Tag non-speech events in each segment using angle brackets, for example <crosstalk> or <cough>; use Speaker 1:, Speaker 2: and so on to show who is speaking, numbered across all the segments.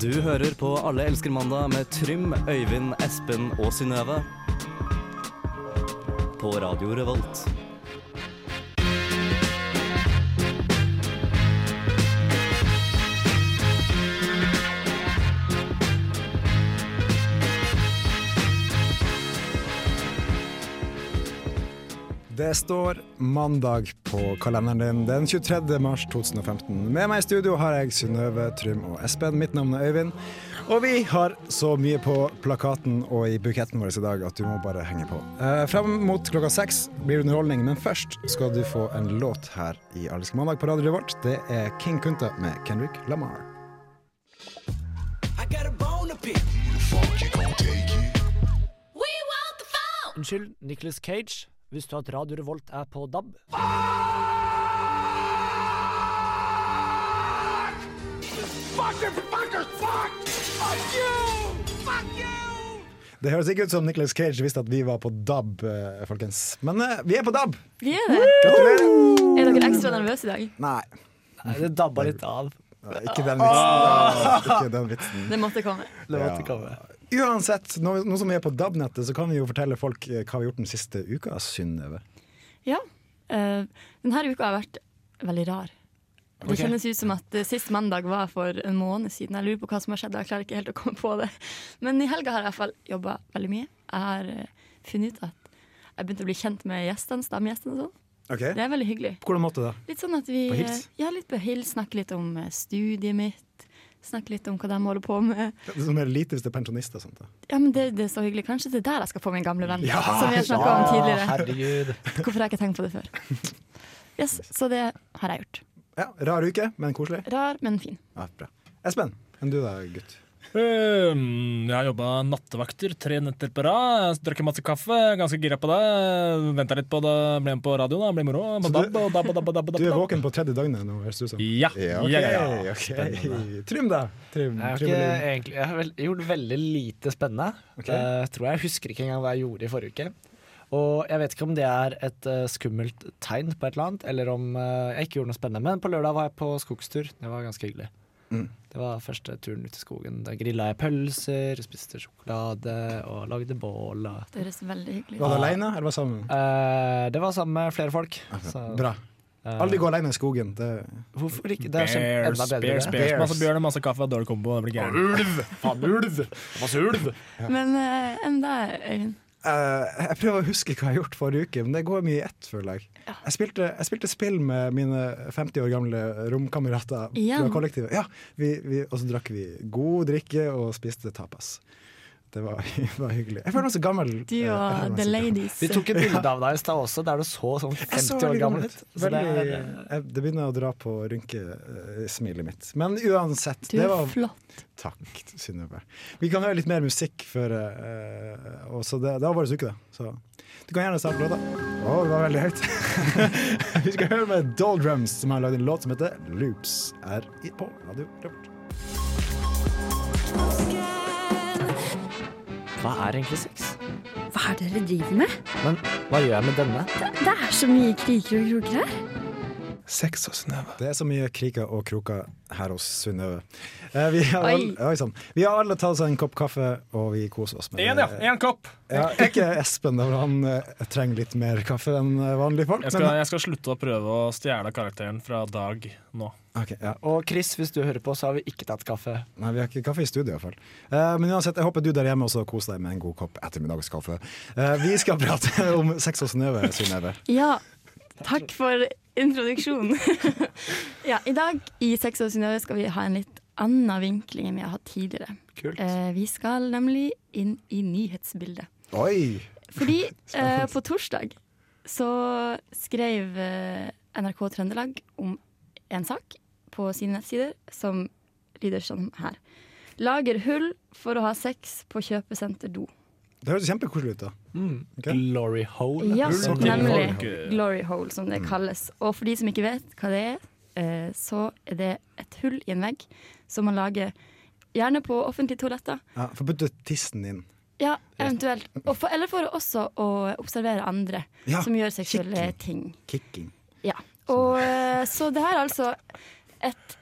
Speaker 1: Du hører på Alle elsker mandag med Trym, Øyvind, Espen og Synnøve. På Radio Revolt.
Speaker 2: Det står mandag på kalenderen din den 23. mars 2015. Med meg i studio har jeg Synnøve, Trym og Espen. Mitt navn er Øyvind. Og vi har så mye på plakaten og i buketten vår i dag at du må bare henge på. Eh, frem mot klokka seks blir det underholdning, men først skal du få en låt her i Aldersk mandag på radioen vårt. Det er King Kunta med Kendrick Lamar.
Speaker 3: Unnskyld, Nicholas Cage. Visste du at Radio Revolt er på DAB?
Speaker 2: Det høres ikke ut som Nicholas Cage visste at vi var på DAB, eh, folkens. Men eh, vi er på DAB!
Speaker 4: Vi er det.
Speaker 2: Gratulerer!
Speaker 4: Er dere ekstra nervøse i dag?
Speaker 2: Nei.
Speaker 3: Nei, det dabba litt av.
Speaker 2: Nei, Ikke den vitsen. Nei, Ikke den vitsen.
Speaker 4: Det måtte komme.
Speaker 3: Det måtte komme.
Speaker 2: Uansett, nå, nå som vi er på DAB-nettet, så kan vi jo fortelle folk eh, hva vi har gjort den siste uka. Synnøve.
Speaker 4: Ja. eh, denne uka har vært veldig rar. Det
Speaker 2: Ok.
Speaker 4: kjennes ut som at eh, sist mandag var for en måned siden. Jeg lurer på hva som har skjedd. og Jeg klarer ikke helt å komme på det. Men i helga har jeg i hvert fall jobba veldig mye. Jeg har eh, funnet ut at jeg begynte å bli kjent med gjestene, stamgjestene og sånn.
Speaker 2: Ok,
Speaker 4: Det er veldig hyggelig.
Speaker 2: På hvordan måte da?
Speaker 4: Litt sånn at vi
Speaker 2: På hils?
Speaker 4: Ja, litt på hils. Snakke litt om eh, studiet mitt. Snakke litt om hva de holder på med.
Speaker 2: Det er sånn mer lite hvis det er pensjonist og sånt. da.
Speaker 4: Ja, men det, det er så hyggelig. Kanskje det er der jeg skal få min gamle venn,
Speaker 2: Ja!
Speaker 4: som vi har snakka om tidligere.
Speaker 3: herregud.
Speaker 4: Hvorfor har jeg ikke tenkt på det før? Yes, Så det har jeg gjort.
Speaker 2: Ja, Rar uke, men koselig.
Speaker 4: Rar, men fin.
Speaker 2: Ja, bra. Espen, enn du da, gutt?
Speaker 5: Ehm, Jeg har jobba nattevakter tre netter på rad. Jeg Drakk masse kaffe, ganske gira på det. Venta litt på det, ble med på radioen, da. Ble moro.
Speaker 2: Så
Speaker 5: På
Speaker 2: du-
Speaker 5: DAB og DAB og DAB. og DAB, og
Speaker 2: Du er
Speaker 5: DAB.
Speaker 2: våken på tredje døgnet nå, høres det ut som.
Speaker 5: Ja.
Speaker 2: Ja,
Speaker 5: ja, ja,
Speaker 2: ok,
Speaker 5: ja.
Speaker 2: ok. Trym, da. Trym,
Speaker 3: Jeg har,
Speaker 2: Trym
Speaker 3: ikke,
Speaker 2: og Linn.
Speaker 3: egentlig, jeg har vel, gjort veldig lite spennende.
Speaker 2: Ok.
Speaker 3: Eh, tror jeg. jeg husker ikke engang hva jeg gjorde i forrige uke. Og jeg vet ikke om det er et eh, skummelt tegn på et eller annet, eller om eh, jeg ikke gjorde noe spennende. Men på lørdag var jeg på skogstur. Det var ganske hyggelig. Det var første turen ut i skogen. Da grilla jeg pølser, spiste sjokolade og lagde bål. Og,
Speaker 4: Det høres veldig hyggelig ut.
Speaker 2: Var du aleine, eller var du sammen?
Speaker 3: Eh, det var sammen med flere folk.
Speaker 2: Altså,
Speaker 3: så-
Speaker 2: Bra.
Speaker 3: Eh,
Speaker 2: Aldri gå aleine i skogen. Det...
Speaker 3: Hvorfor ikke? Det er
Speaker 5: Bears,
Speaker 3: kjempe-
Speaker 5: bears,
Speaker 3: enda bedre.
Speaker 5: bears,
Speaker 3: det.
Speaker 2: Bears.
Speaker 5: Masse bjørn, masse kaffe, dårlig kombo. Det blir gærent.
Speaker 4: Men eh, enn deg, Øyvind?
Speaker 2: Eh, jeg prøver å huske hva jeg har gjort forrige uke, men det går mye i ett. føler Jeg jeg, spilte, jeg spilte spill med mine 50 år gamle romkamerater
Speaker 4: Igjen?
Speaker 2: fra kollektivet. Ja, vi, vi, og så drakk vi god drikke og spiste tapas. Det var, <laughs> var hyggelig. Jeg føler meg så gammel.
Speaker 4: Du
Speaker 2: eh, jeg føler
Speaker 4: og
Speaker 2: meg
Speaker 4: The
Speaker 2: så gammel.
Speaker 4: Ladies.
Speaker 3: Vi tok et bilde av deg i stad også, der du så sånn
Speaker 2: Jeg så
Speaker 3: 50 år
Speaker 2: veldig
Speaker 3: gammel ut. Så det
Speaker 2: Veldig,
Speaker 3: er, eh,
Speaker 2: jeg, det begynner å dra på rynkesmilet mitt. Men uansett,
Speaker 4: eh, Du
Speaker 2: det
Speaker 4: er
Speaker 2: var
Speaker 4: flott.
Speaker 2: Takk, Synnøve. Vi kan høre litt mer musikk før eh, og så det, det var vår uke, det. Så du kan gjerne starte låta. Å, det var veldig høyt. <laughs> Vi skal høre med Doldrums, som har lagd en låt som heter Loops. Er i- på radio Revolt.
Speaker 3: hva er egentlig sex?
Speaker 6: Hva er det dere driver med?
Speaker 3: Men hva gjør jeg med denne?
Speaker 6: Det er så mye kriker og kroker her.
Speaker 7: Sex og snøve.
Speaker 2: Det er så mye kriker og kroker her hos Synnøve. Eh, vi, har
Speaker 4: Oi.
Speaker 2: alle- oi, sann. vi har alle tatt oss en kopp kaffe, og vi koser oss med
Speaker 5: Én, ja. Én kopp.
Speaker 2: Ja, ikke Espen, da, for han eh, trenger litt mer kaffe enn eh, vanlige folk.
Speaker 5: Jeg skal, jeg skal slutte å prøve å stjele karakteren fra Dag nå.
Speaker 2: Men, ok, ja.
Speaker 3: Og Chris, hvis du hører på, så har vi ikke tatt kaffe.
Speaker 2: Nei, vi har ikke kaffe i studio i hvert fall. Eh, men uansett, jeg håper du der hjemme også koser deg med en god kopp ettermiddagskaffe. Eh, vi skal prate <laughs> om sex og snøve, Synnøve.
Speaker 4: Ja, takk for introduksjonen. <laughs> ja, I dag i Sex og Synnøve skal vi ha en litt annen vinkling enn vi har hatt tidligere.
Speaker 3: Kult.
Speaker 4: Eh, vi skal nemlig inn i nyhetsbildet.
Speaker 2: Oi!
Speaker 4: Fordi eh, på torsdag så skrev eh, NRK Trøndelag om en sak på sine nettsider som lyder sånn her. Lager hull for å ha sex på kjøpesenterdo.
Speaker 2: Det høres kjempekoselig ut, da. Ok.
Speaker 3: Glory hole.
Speaker 4: Ja,
Speaker 3: Hull Mm. til
Speaker 4: nemlig
Speaker 3: folk.
Speaker 4: glory hole, som det kalles. Og for de som ikke vet hva det er, eh, så er det et hull i en vegg som man lager gjerne på offentlige toaletter.
Speaker 2: Ja, Få putte tissen inn.
Speaker 4: Ja, eventuelt. Og for, eller for også å observere andre
Speaker 2: Ja,
Speaker 4: som gjør seksuelle
Speaker 2: kikking.
Speaker 4: ting.
Speaker 2: Kicking.
Speaker 4: Ja. Og, eh, så det her er altså et,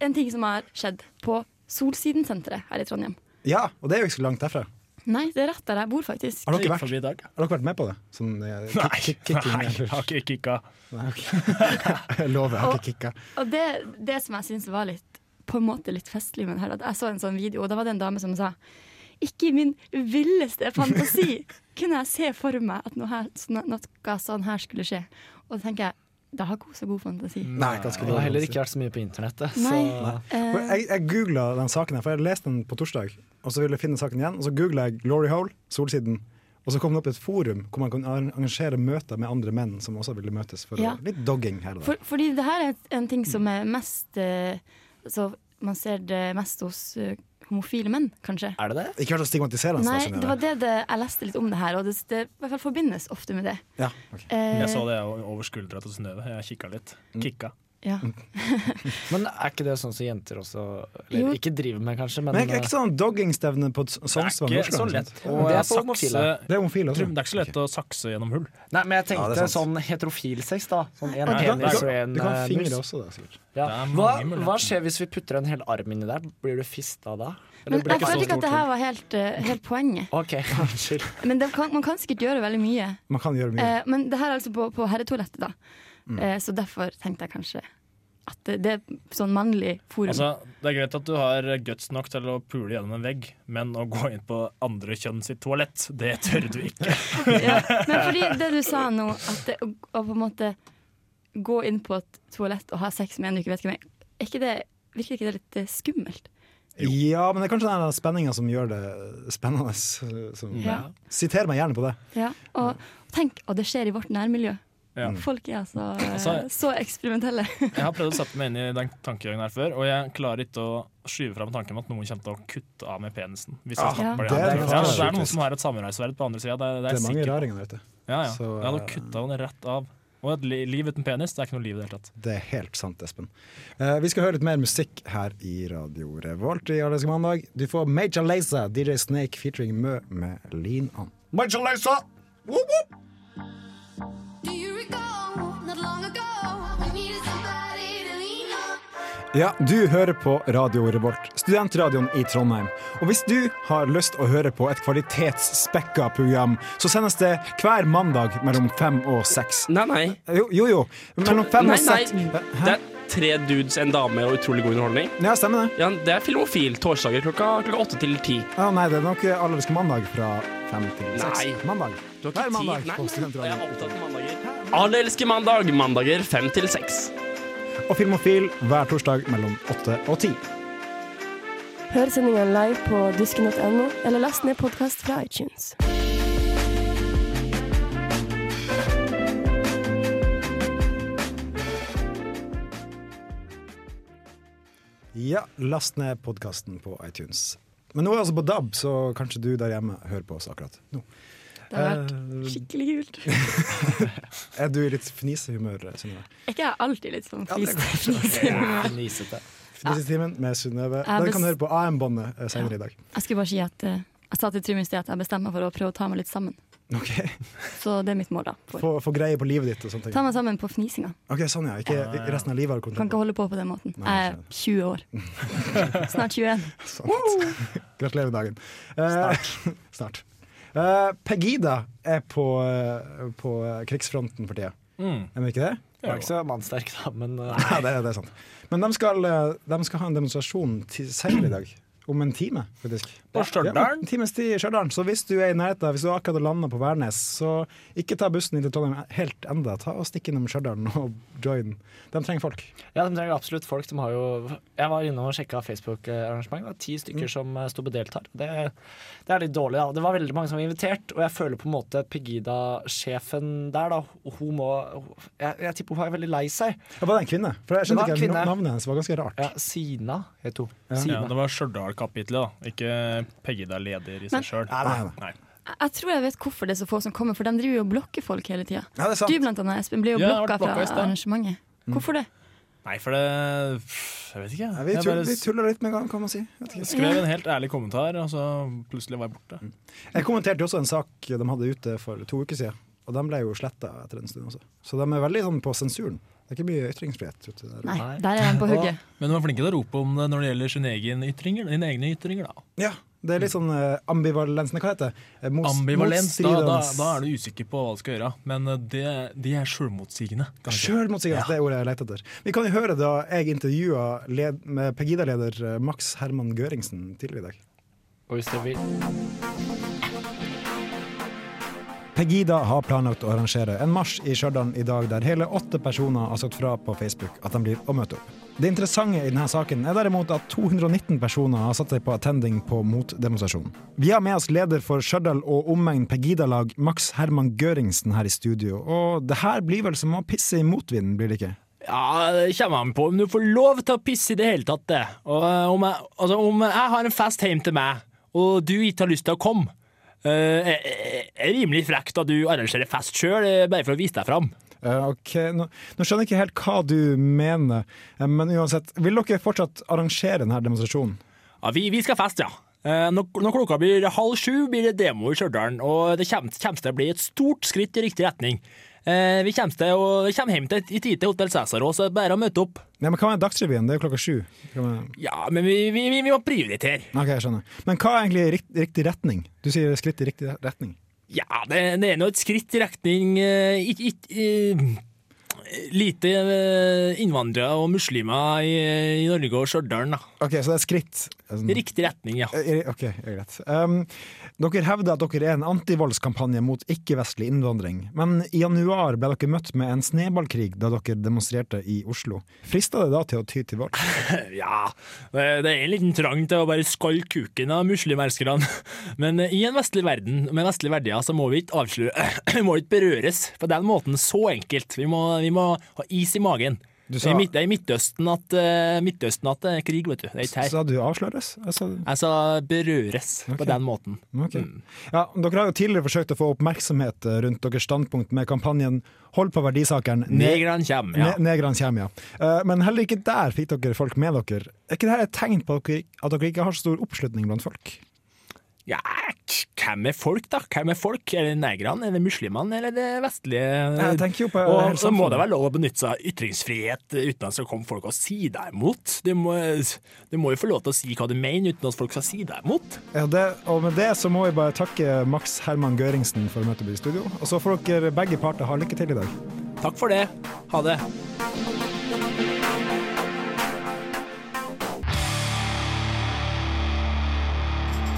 Speaker 4: en ting som har skjedd på Solsidensenteret her i Trondheim.
Speaker 2: Ja, og det er jo ikke så langt derfra.
Speaker 4: Nei, det er rett der jeg bor, faktisk.
Speaker 2: Har
Speaker 5: Jeg
Speaker 2: dere
Speaker 5: gikk
Speaker 2: vært,
Speaker 5: forbi i dag.
Speaker 2: har dere vært med på det? Sånn, eh, kick-
Speaker 5: Nei,
Speaker 2: kick- kicking,
Speaker 5: nei, jeg
Speaker 2: eller-
Speaker 5: har ikke kikka.
Speaker 2: Nei, ok. <laughs> Jeg lover, jeg har ikke kicka.
Speaker 4: Og det, det som jeg syns var litt på en måte litt festlig med det her, at jeg så en sånn video, og da var det en dame som sa Ikke i min villeste fantasi kunne jeg se for meg at noe, her, sånn- noe sånn her skulle skje. Og da tenker jeg da har hun så god fantasi.
Speaker 2: Nei, ganske
Speaker 3: Det har heller
Speaker 2: dårlig.
Speaker 3: ikke vært så mye på internettet.
Speaker 4: Nei.
Speaker 3: Så
Speaker 4: Eh,
Speaker 2: Men Jeg, jeg googla den saken her, for jeg leste den på torsdag. Og så ville jeg finne saken igjen, og så googla jeg Glory Hole, Solsiden. Og så kom det opp et forum hvor man kan arran- arrangere møter med andre menn som også ville møtes. For
Speaker 4: Ja.
Speaker 2: å- litt dogging her og der.
Speaker 4: for, fordi det her er en ting som er mest eh, Så man ser det mest hos eh, homofile menn, kanskje.
Speaker 3: er det det?
Speaker 2: Ikke vært så stigmatiserende.
Speaker 4: Nei,
Speaker 2: Synnøve.
Speaker 4: det var det, det jeg leste litt om det her, og det, det i hvert fall forbindes ofte med det.
Speaker 2: Ja, ok.
Speaker 4: Eh,
Speaker 5: Jeg så det over skuldra til Synnøve. Jeg kikka litt. Kikka.
Speaker 4: Ja.
Speaker 3: Men er ikke det sånn som jenter også
Speaker 4: Jo.
Speaker 3: Eller ikke driver med, kanskje, men,
Speaker 2: Men er ikke sånn doggingstevne på et s-
Speaker 5: Det
Speaker 2: Sognsvann?
Speaker 5: er ikke
Speaker 2: Oslo,
Speaker 5: så
Speaker 2: eller noe
Speaker 5: lett
Speaker 2: sånt?
Speaker 5: å
Speaker 3: Men det er for homofile.
Speaker 5: sakse
Speaker 2: Det er homofile
Speaker 5: Det
Speaker 2: også.
Speaker 5: er ikke så lett å sakse gjennom hull.
Speaker 3: Nei, men jeg
Speaker 2: Ja,
Speaker 3: tenkte
Speaker 2: det er sant.
Speaker 3: sånn heterofil sex, da. Sånn en
Speaker 2: Du kan, du
Speaker 3: penis og
Speaker 2: kan,
Speaker 3: en
Speaker 2: du kan
Speaker 3: eh,
Speaker 2: fingre
Speaker 3: mus.
Speaker 2: også, da, sikkert.
Speaker 3: Ja.
Speaker 5: Det er
Speaker 3: Hva,
Speaker 5: mange muligheter.
Speaker 3: hva skjer hvis vi putter en hel arm inni der? Blir du fista da?
Speaker 4: Men
Speaker 3: blir
Speaker 4: jeg
Speaker 3: det
Speaker 4: føler
Speaker 3: så
Speaker 4: ikke at
Speaker 3: stort
Speaker 4: det her var helt, eh, helt poenget.
Speaker 3: hull? OK, <laughs> unnskyld.
Speaker 4: Men det kan, man kan sikkert gjøre veldig mye.
Speaker 2: Man kan gjøre mye.
Speaker 4: Eh, men det her er altså på, på herretoalettet, da. Eh, så derfor tenkte jeg kanskje at det, det er sånn mannlig forum.
Speaker 5: Altså, det er greit at du har guts nok til å pule gjennom en vegg, men å gå inn på andre kjønn sitt toalett, det tør du ikke.
Speaker 4: ja. Men fordi det du sa nå, at det, å, å på en måte gå inn på et toalett og ha sex med en du ikke vet hvem er, er ikke det, virker ikke det litt eh, skummelt?
Speaker 2: Ja, men det er kanskje den spenninga som gjør det spennende. s- Som,
Speaker 4: Ja.
Speaker 2: Siter meg gjerne på det.
Speaker 4: Ja. Og tenk, og det skjer i vårt nærmiljø.
Speaker 5: Ja.
Speaker 4: Folk er altså eh,
Speaker 5: Altså-
Speaker 4: så eksperimentelle.
Speaker 5: <laughs>
Speaker 4: <laughs>
Speaker 5: Jeg har prøvd å sette meg inn i den tankegangen her før, og jeg klarer ikke å skyve fram tanken om at noen kommer til å kutte av med penisen. Hvis jeg
Speaker 2: Ah,
Speaker 5: snapper
Speaker 2: det er
Speaker 5: det, ja,
Speaker 2: ganske
Speaker 5: altså, det er
Speaker 2: sjukt.
Speaker 5: noen som har et samuraisverd på andre sida. Det, er- det
Speaker 2: Det er
Speaker 5: er jeg
Speaker 2: mange
Speaker 5: sikker på.
Speaker 2: raringer der ute.
Speaker 5: Ja, ja.
Speaker 2: Så,
Speaker 5: Jeg hadde
Speaker 2: eh,
Speaker 5: kutta den rett av. Og et li- liv uten penis, det er ikke noe liv i det hele tatt.
Speaker 2: Det er helt sant, Espen. Eh, vi skal høre litt mer musikk her i Radio Revolt i Allerske mandag. Du får Major Lazer, DJ Snake featuring Mø med Lean On. Major Lazer!
Speaker 8: Do you recall not long ago we needed somebody to lean on?
Speaker 2: Ja, du hører på Radio Revolt, studentradioen i Trondheim. Og hvis du har lyst å høre på et kvalitetsspekka program, så sendes det hver mandag mellom fem og seks.
Speaker 9: Nei, nei.
Speaker 2: Jo, jo. jo. Mellom fem
Speaker 9: Nei,
Speaker 2: og
Speaker 9: nei.
Speaker 2: seks Eh,
Speaker 9: Det er tre dudes, en dame og utrolig god underholdning.
Speaker 2: Ja, stemmer det.
Speaker 9: Ja, det er Filmofil. Torsdager klokka, klokka åtte til ti.
Speaker 2: Ja, nei, det er nok Allerske mandag fra fem til seks.
Speaker 9: Nei.
Speaker 2: Mandag.
Speaker 9: Du har
Speaker 2: Hver
Speaker 9: ikke
Speaker 2: mandag
Speaker 9: tid. Nei,
Speaker 2: på
Speaker 9: nei, nei. Jeg
Speaker 2: studentradioen.
Speaker 9: er opptatt av mandager. Alle elsker mandag. Mandager fem til seks.
Speaker 2: og Filmofil hver torsdag mellom 8 og 10.
Speaker 10: Hør sendingen live på dusken.no, eller last ned podkast fra iTunes.
Speaker 2: Ja, last ned podkasten på iTunes. Men nå er jeg altså på DAB, så kanskje du der hjemme hører på oss akkurat nå.
Speaker 4: Det
Speaker 2: Eh,
Speaker 4: har vært skikkelig kult.
Speaker 2: Er du i litt fnisehumør, Synnøve?
Speaker 4: Er ikke jeg alltid litt sånn
Speaker 2: det er
Speaker 4: fniste?
Speaker 3: Nisete.
Speaker 2: Fnisetimen med Synnøve.
Speaker 4: Jeg
Speaker 2: Den kan
Speaker 4: bes-
Speaker 2: du høre på AM-båndet eh, senere i dag.
Speaker 4: <laughs> Jeg skulle bare si at eh, jeg sa til Trym i sted at jeg bestemmer meg for å prøve å ta meg litt sammen.
Speaker 2: Ok,
Speaker 4: Så det er mitt mål, da. For.
Speaker 2: <laughs> Få, få greie på livet ditt og sånne
Speaker 4: Ta
Speaker 2: ting.
Speaker 4: meg sammen på fnisinga.
Speaker 2: Ok, Sånn, ja. Ikke resten av livet har du
Speaker 4: Kan
Speaker 2: kontroll på.
Speaker 4: ikke holde på på den måten.
Speaker 2: Nei,
Speaker 4: Jeg er 20 år. Snart 21.
Speaker 2: Sant. Sånn <laughs> Gratulerer med dagen. Eh, <laughs> snart. Eh, Pegida er på, eh, på eh, krigsfronten for tida,
Speaker 5: Mm.
Speaker 2: er de ikke det?
Speaker 3: Du er ikke så mannssterk, da, men uh,
Speaker 2: Ja, det, er- det er sant. Men de skal, eh, de skal ha en demonstrasjon til senere i dag. Om en time, faktisk.
Speaker 5: På Stjørdal?
Speaker 2: Ja, en times tid i Stjørdal. Så hvis du er i nærheten, hvis du akkurat har landa på Værnes, så ikke ta bussen inn til Trondheim helt enda. Ta og Stikk innom Stjørdal og join. De trenger folk.
Speaker 3: ja, de trenger absolutt folk. De har jo Jeg var inne og sjekka Facebook-arrangement. Det var ti stykker som uh, sto og deltar. Det, det er litt dårlig, da. Det var veldig mange som var invitert, og jeg føler på en måte Pegida-sjefen der, da. Hun må Jeg, jeg tipper hun er veldig lei seg.
Speaker 2: Ja, var det en kvinne? For jeg
Speaker 3: Det var
Speaker 2: skjønte ikke
Speaker 3: en kvinne.
Speaker 2: Navnet hennes var ganske rart.
Speaker 3: Ja, Sina het hun.
Speaker 5: Ja,
Speaker 3: Sina.
Speaker 5: det var Stjørdal-kapitlet, da. Ikke Pegida leder i
Speaker 4: Men-
Speaker 5: seg sjøl.
Speaker 2: Nei, nei.
Speaker 4: Jeg jeg tror jeg vet hvorfor det er så få som kommer, for de driver jo og blokker folk hele tida.
Speaker 2: Ja, det er
Speaker 4: Du
Speaker 2: sant.
Speaker 4: blant annet, Espen, blir jo
Speaker 5: Ja, jeg
Speaker 4: blokka
Speaker 5: ble blokka
Speaker 4: fra
Speaker 5: i sted.
Speaker 4: arrangementet. Hvorfor det?
Speaker 5: Nei, for det pff, Jeg vet ikke.
Speaker 2: Ja, vi,
Speaker 5: Jeg
Speaker 2: tull,
Speaker 5: bare
Speaker 2: vi tuller litt med gang, kan man si. Vet ikke.
Speaker 5: skrev en helt ærlig kommentar, og så plutselig var jeg borte.
Speaker 2: Jeg kommenterte jo også en sak de hadde ute for to uker siden, og de ble jo sletta etter en stund også. Så de er veldig sånn på sensuren. Det er ikke mye ytringsfrihet. vet du, der.
Speaker 4: Nei,
Speaker 3: Nei.
Speaker 4: der er han på hugget.
Speaker 5: Men de er flinke til å rope om det når det gjelder sine egen ytringer, dine egne ytringer. da.
Speaker 2: Ja, det er litt sånn eh, ambivalens Nei, hva heter det? Eh, mos-
Speaker 5: Ambivalent. Da, da,
Speaker 2: motstridende-
Speaker 5: da er du usikker på hva du skal gjøre. Men eh, det, de er sjølmotsigende. kanskje.
Speaker 2: Sjølmotsigende, det er ordet jeg leter etter. Vi kan jo høre da jeg intervjua led med Pegida-leder eh, Max Herman Gøringsen tidligere i dag.
Speaker 3: Og hvis dere vil
Speaker 2: Pegida har planlagt å arrangere en marsj i Stjørdal i dag, der hele åtte personer har sagt fra på Facebook at de blir å møte opp. Det interessante i denne saken er derimot at 219 personer har satt seg på attending på motdemonstrasjonen. Vi har med oss leder for Stjørdal og omegn Pegida-lag, Max Herman Gøringsen, her i studio. Og det her blir vel som å pisse i motvinden, blir det ikke?
Speaker 5: Ja, det kommer an på om du får lov til å pisse i det hele tatt. det. Og eh, om jeg, altså, om jeg har en fest hjem til meg, og du ikke har lyst til å komme eh, er er det rimelig frekt at du arrangerer fest sjøl, bare for å vise deg fram.
Speaker 2: Eh, ok, nå, nå skjønner jeg ikke helt hva du mener, eh, men uansett. Vil dere fortsatt arrangere denne demonstrasjonen?
Speaker 5: Ja, vi, vi skal fest, ja. Eh, Når, når klokka blir halv sju, blir det demo i Stjørdal, og det kommer, kommer til å bli et stort skritt i riktig retning. Eh, Vi kommer, til å, kommer hjem til, i tid til Hotell Cæsar, også, så det er bare å møte opp.
Speaker 2: Ja, men Hva med Dagsrevyen? Det er jo klokka sju. Hva med-
Speaker 5: Ja, men vi, vi, vi, vi må prioritere.
Speaker 2: Ok, jeg skjønner. Men hva er egentlig rikt, riktig retning? Du sier skritt i riktig retning.
Speaker 5: Ja, det, det er nå et skritt i retning eh, ikk- ikk- eh, Lite eh, innvandrere og muslimer i, i Norge og Stjørdal, da.
Speaker 2: Ok, så det er skritt.
Speaker 5: I riktig retning, ja.
Speaker 2: Eh, i- Ok, ja, greit. Um, dere hevder at dere er en antivoldskampanje mot ikke-vestlig innvandring, men i januar ble dere møtt med en snøballkrig da dere demonstrerte i Oslo. Frista det da til å ty til vold?
Speaker 5: <laughs> Ja, det det er en liten trang til å bare skalle kuken av muslimelskerne. <laughs> Men i en vestlig verden med vestlige verdier så må vi ikke avsløre <clears throat> Vi må ikke berøres på den måten så enkelt. Vi må, vi må ha is i magen.
Speaker 2: Du
Speaker 5: Det
Speaker 2: sa,
Speaker 5: er i Midt- det er i Midtøsten at, eh, Midtøsten at det er krig, vet du. Det er ikke her.
Speaker 2: sa du avsløres? Altså,
Speaker 5: Altså berøres
Speaker 2: Ok.
Speaker 5: på den måten.
Speaker 2: Ok. Ja, dere har jo tidligere forsøkt å få oppmerksomhet eh, rundt deres standpunkt med kampanjen 'Hold på verdisakeren'. ne-
Speaker 5: Negrene kommer, ja.
Speaker 2: ne- Negrene kommer, ja. Eh, Men heller ikke der fikk dere folk med dere. Er ikke dette et tegn på at dere, at dere ikke har så stor oppslutning blant folk?
Speaker 5: Ja, k- hvem er folk, da? Hvem Er folk? Er det negrene, er det muslimene, eller er det
Speaker 2: Jeg
Speaker 5: vestlige?
Speaker 2: tenker jo på sånn
Speaker 5: Og
Speaker 2: hele
Speaker 5: så må det
Speaker 2: samfunnet.
Speaker 5: være lov å benytte seg av ytringsfrihet eh, uten at så kommer folk og sier deg imot. Du må, du må jo få lov til å si hva du mener uten at folk skal si deg imot.
Speaker 2: Ja, det, og med det så må vi bare takke Max Herman Gøringsen for møtet i studio. Og så får dere begge parter ha lykke til i dag.
Speaker 5: Takk for det. Ha det.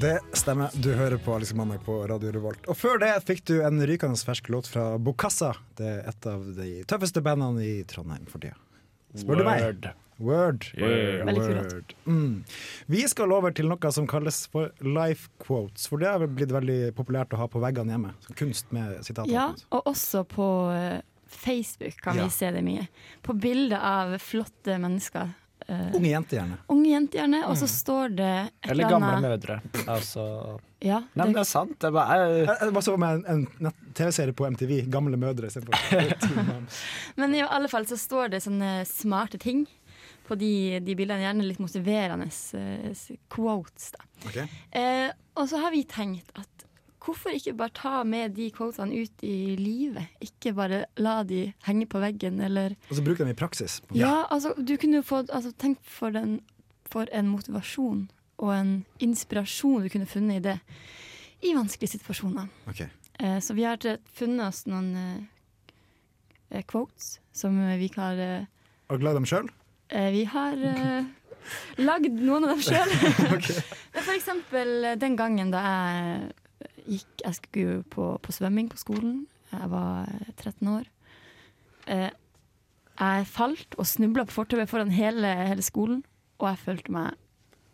Speaker 2: Det stemmer. Du hører på Alex Mandag på Radio Revolt. Og før det fikk du en rykende fersk låt fra Bokassa. Det er et av de tøffeste bandene i Trondheim for tida. Spør du meg?
Speaker 5: Word.
Speaker 2: Word.
Speaker 4: Veldig kul låt.
Speaker 2: Word. Mm. Vi skal over til noe som kalles for life quotes, for det har vel blitt veldig populært å ha på veggene hjemme. Så Kunst med sitater.
Speaker 4: Ja, og også på eh, Facebook kan
Speaker 2: Ja.
Speaker 4: vi se det mye. På bilder av flotte mennesker. eh,
Speaker 2: Unge jenter, gjerne.
Speaker 4: unge jenter, gjerne. Og så står det et
Speaker 3: Eller
Speaker 4: eller
Speaker 3: gamle
Speaker 4: annet
Speaker 3: mødre. Altså
Speaker 4: ja,
Speaker 3: Nei, men
Speaker 4: det,
Speaker 3: det er sant. Det er bare,
Speaker 2: Jeg, jeg bare så meg en, en nett- TV-serie på MTV, Gamle mødre, istedenfor.
Speaker 4: Men i alle fall så står det sånne smarte ting på de, de bildene. Gjerne litt motiverende eh, s- quotes, da.
Speaker 2: Okay.
Speaker 4: Eh, og så har vi tenkt at hvorfor ikke bare ta med de quotene ut i livet? Ikke bare la de henge på veggen, eller
Speaker 2: Og så bruker de i praksis.
Speaker 4: Ja, altså, du kunne jo fått altså, Tenk for, den, for en motivasjon og en inspirasjon du kunne funnet i det i vanskelige situasjoner.
Speaker 2: Ok.
Speaker 4: Eh, så vi har tre- funnet oss noen eh, eh, quotes som eh, vi har eh,
Speaker 2: Og glad i dem sjøl?
Speaker 4: eh, Vi har eh, lagd noen av dem sjøl. Men For eksempel eh, den gangen da jeg gikk Jeg skulle jo på, på svømming på skolen. Jeg var eh, 13 år. Eh, jeg falt og snubla på fortauet foran hele, hele skolen, og jeg følte meg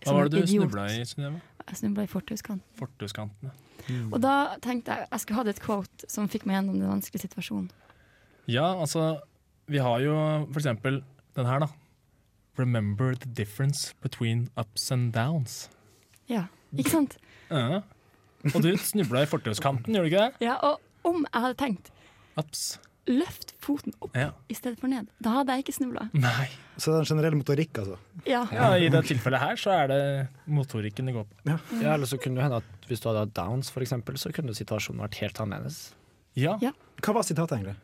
Speaker 4: som en idiot.
Speaker 5: i, Synnøve?
Speaker 4: Jeg snubla i fortauskanten.
Speaker 5: Fortauskantene.
Speaker 4: Og da tenkte jeg jeg skulle hatt et quote som fikk meg gjennom den vanskelige situasjonen.
Speaker 5: Ja, altså Vi har jo for eksempel den her, da. Remember the difference between ups and downs.
Speaker 4: Ja, ikke sant?
Speaker 5: Ja. Og du snubla i fortauskanten, gjorde du ikke det?
Speaker 4: Ja, Og om jeg hadde tenkt
Speaker 5: Ups.
Speaker 4: løft foten opp
Speaker 5: Ja.
Speaker 4: i stedet for ned, da hadde jeg ikke snubla.
Speaker 5: Nei.
Speaker 2: Så det er en generell motorikk, altså.
Speaker 4: Ja.
Speaker 5: Ja, I det tilfellet her så er det motorikken det går på.
Speaker 3: Ja, eller så kunne det hende at hvis du hadde hatt downs, for eksempel, så kunne situasjonen vært helt annerledes.
Speaker 5: Ja.
Speaker 4: Ja.
Speaker 2: Hva var sitatet, egentlig?